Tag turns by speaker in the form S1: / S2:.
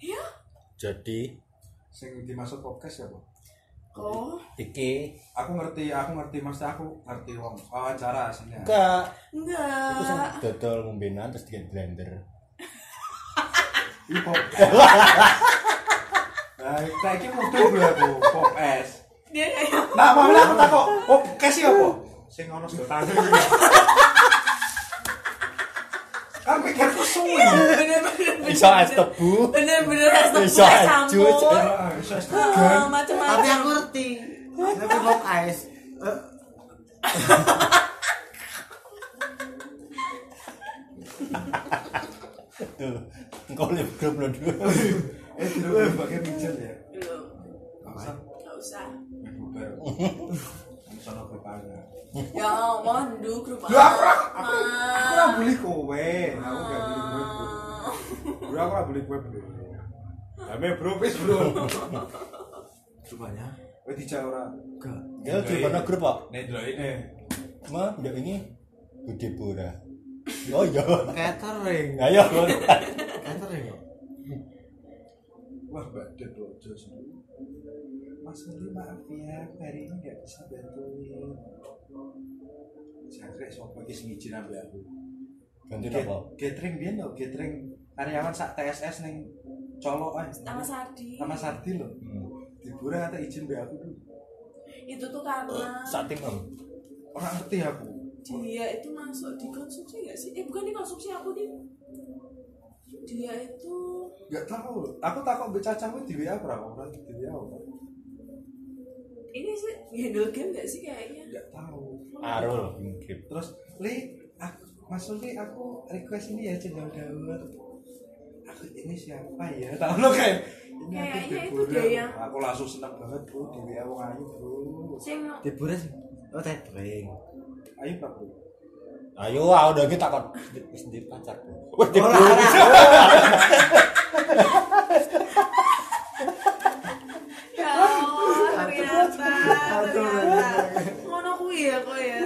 S1: Eh,
S2: Jadi
S3: Sing dimaksud podcast ya, Bu?
S1: Oh,
S2: iki
S3: Aku ngerti, aku ngerti Mas, aku ngerti wong wawancara aslinya.
S2: enggak iku sing
S1: enggak.
S2: dodol ngombenan terus digawe blender.
S3: Ipo. Nah, saiki mudeng gue aku, podcast.
S1: Dia kayak
S3: Nah, mau aku takok, podcast ya apa? Sing ono sedotane. Kan pikirku suwi.
S1: bener-bener.
S2: Iso es tebu.
S1: Bener-bener es tebu, es
S2: Bisa ajut.
S1: campur.
S3: Ah, iso
S1: Ah,
S3: sedotan.
S4: Tapi aku
S1: Macem-macem.
S4: ngerti. Tapi kok ais. Eh,
S2: Tuh, engko lip grup lo dulu.
S3: Eh, dulu bagian mijil ya.
S1: Belum,
S3: Masa
S1: Nggak usah.
S3: bubar. Sono berpangga.
S1: Ya ngomong dulu grup
S3: Lho aku ra- Ya, aku aku ora
S1: Aku
S3: beli kowe, aku gak beli kowe. Bro, aku ora beli kowe, Bro. Tapi bro wis, Bro.
S5: Rupanya
S3: Wis dijak ora.
S5: enggak.
S2: Ya di mana grup kok?
S5: Nek delok ini.
S3: Eh,
S2: Ma, ndak ini Budi Pura. Oh iya.
S4: catering.
S2: Ayo.
S4: Catering. kok.
S3: wah Mbak Ded Rojo sendiri. Mas Menteri maaf ya, aku hari ini gak bisa bantuin. Jangkrik sopo iki ngijin ambe aku.
S2: Ganti
S3: Get-
S2: apa?
S3: Gathering biyen lho, gathering karyawan sak TSS ning Colok eh.
S1: Sama Sardi.
S3: Sama Sardi lho.
S2: Hmm.
S3: Dibura kata izin mbak aku tuh.
S1: Itu tuh karena
S2: Sating Mam.
S3: Ora ngerti aku.
S1: dia itu masuk dikonsumsi nggak sih? Eh bukan dikonsumsi aku nih. Dia itu
S3: Gak tahu. Aku takut mbak Caca kuwi di WA ora ora di WA ora.
S1: ini sih handle game nggak sih kayaknya?
S3: Gak tahu.
S2: Arul Inggris.
S3: terus li aku masuk li aku request ini ya cendol daur aku ini siapa ya tau lo kayak ini aku
S1: Kayaknya itu
S3: Deborah.
S1: deh yang-
S3: aku langsung seneng banget bro di WA wong Ayu bro
S1: Sing
S4: Dibure sih. Oh, catering.
S3: Ayu pak bro
S2: Ayo, aku udah kita kon wis di pacar. Wis di
S4: Ora ora.
S1: ya Allah ternyata
S4: Aduh.
S1: ternyata ngono kuwi ya kok ya.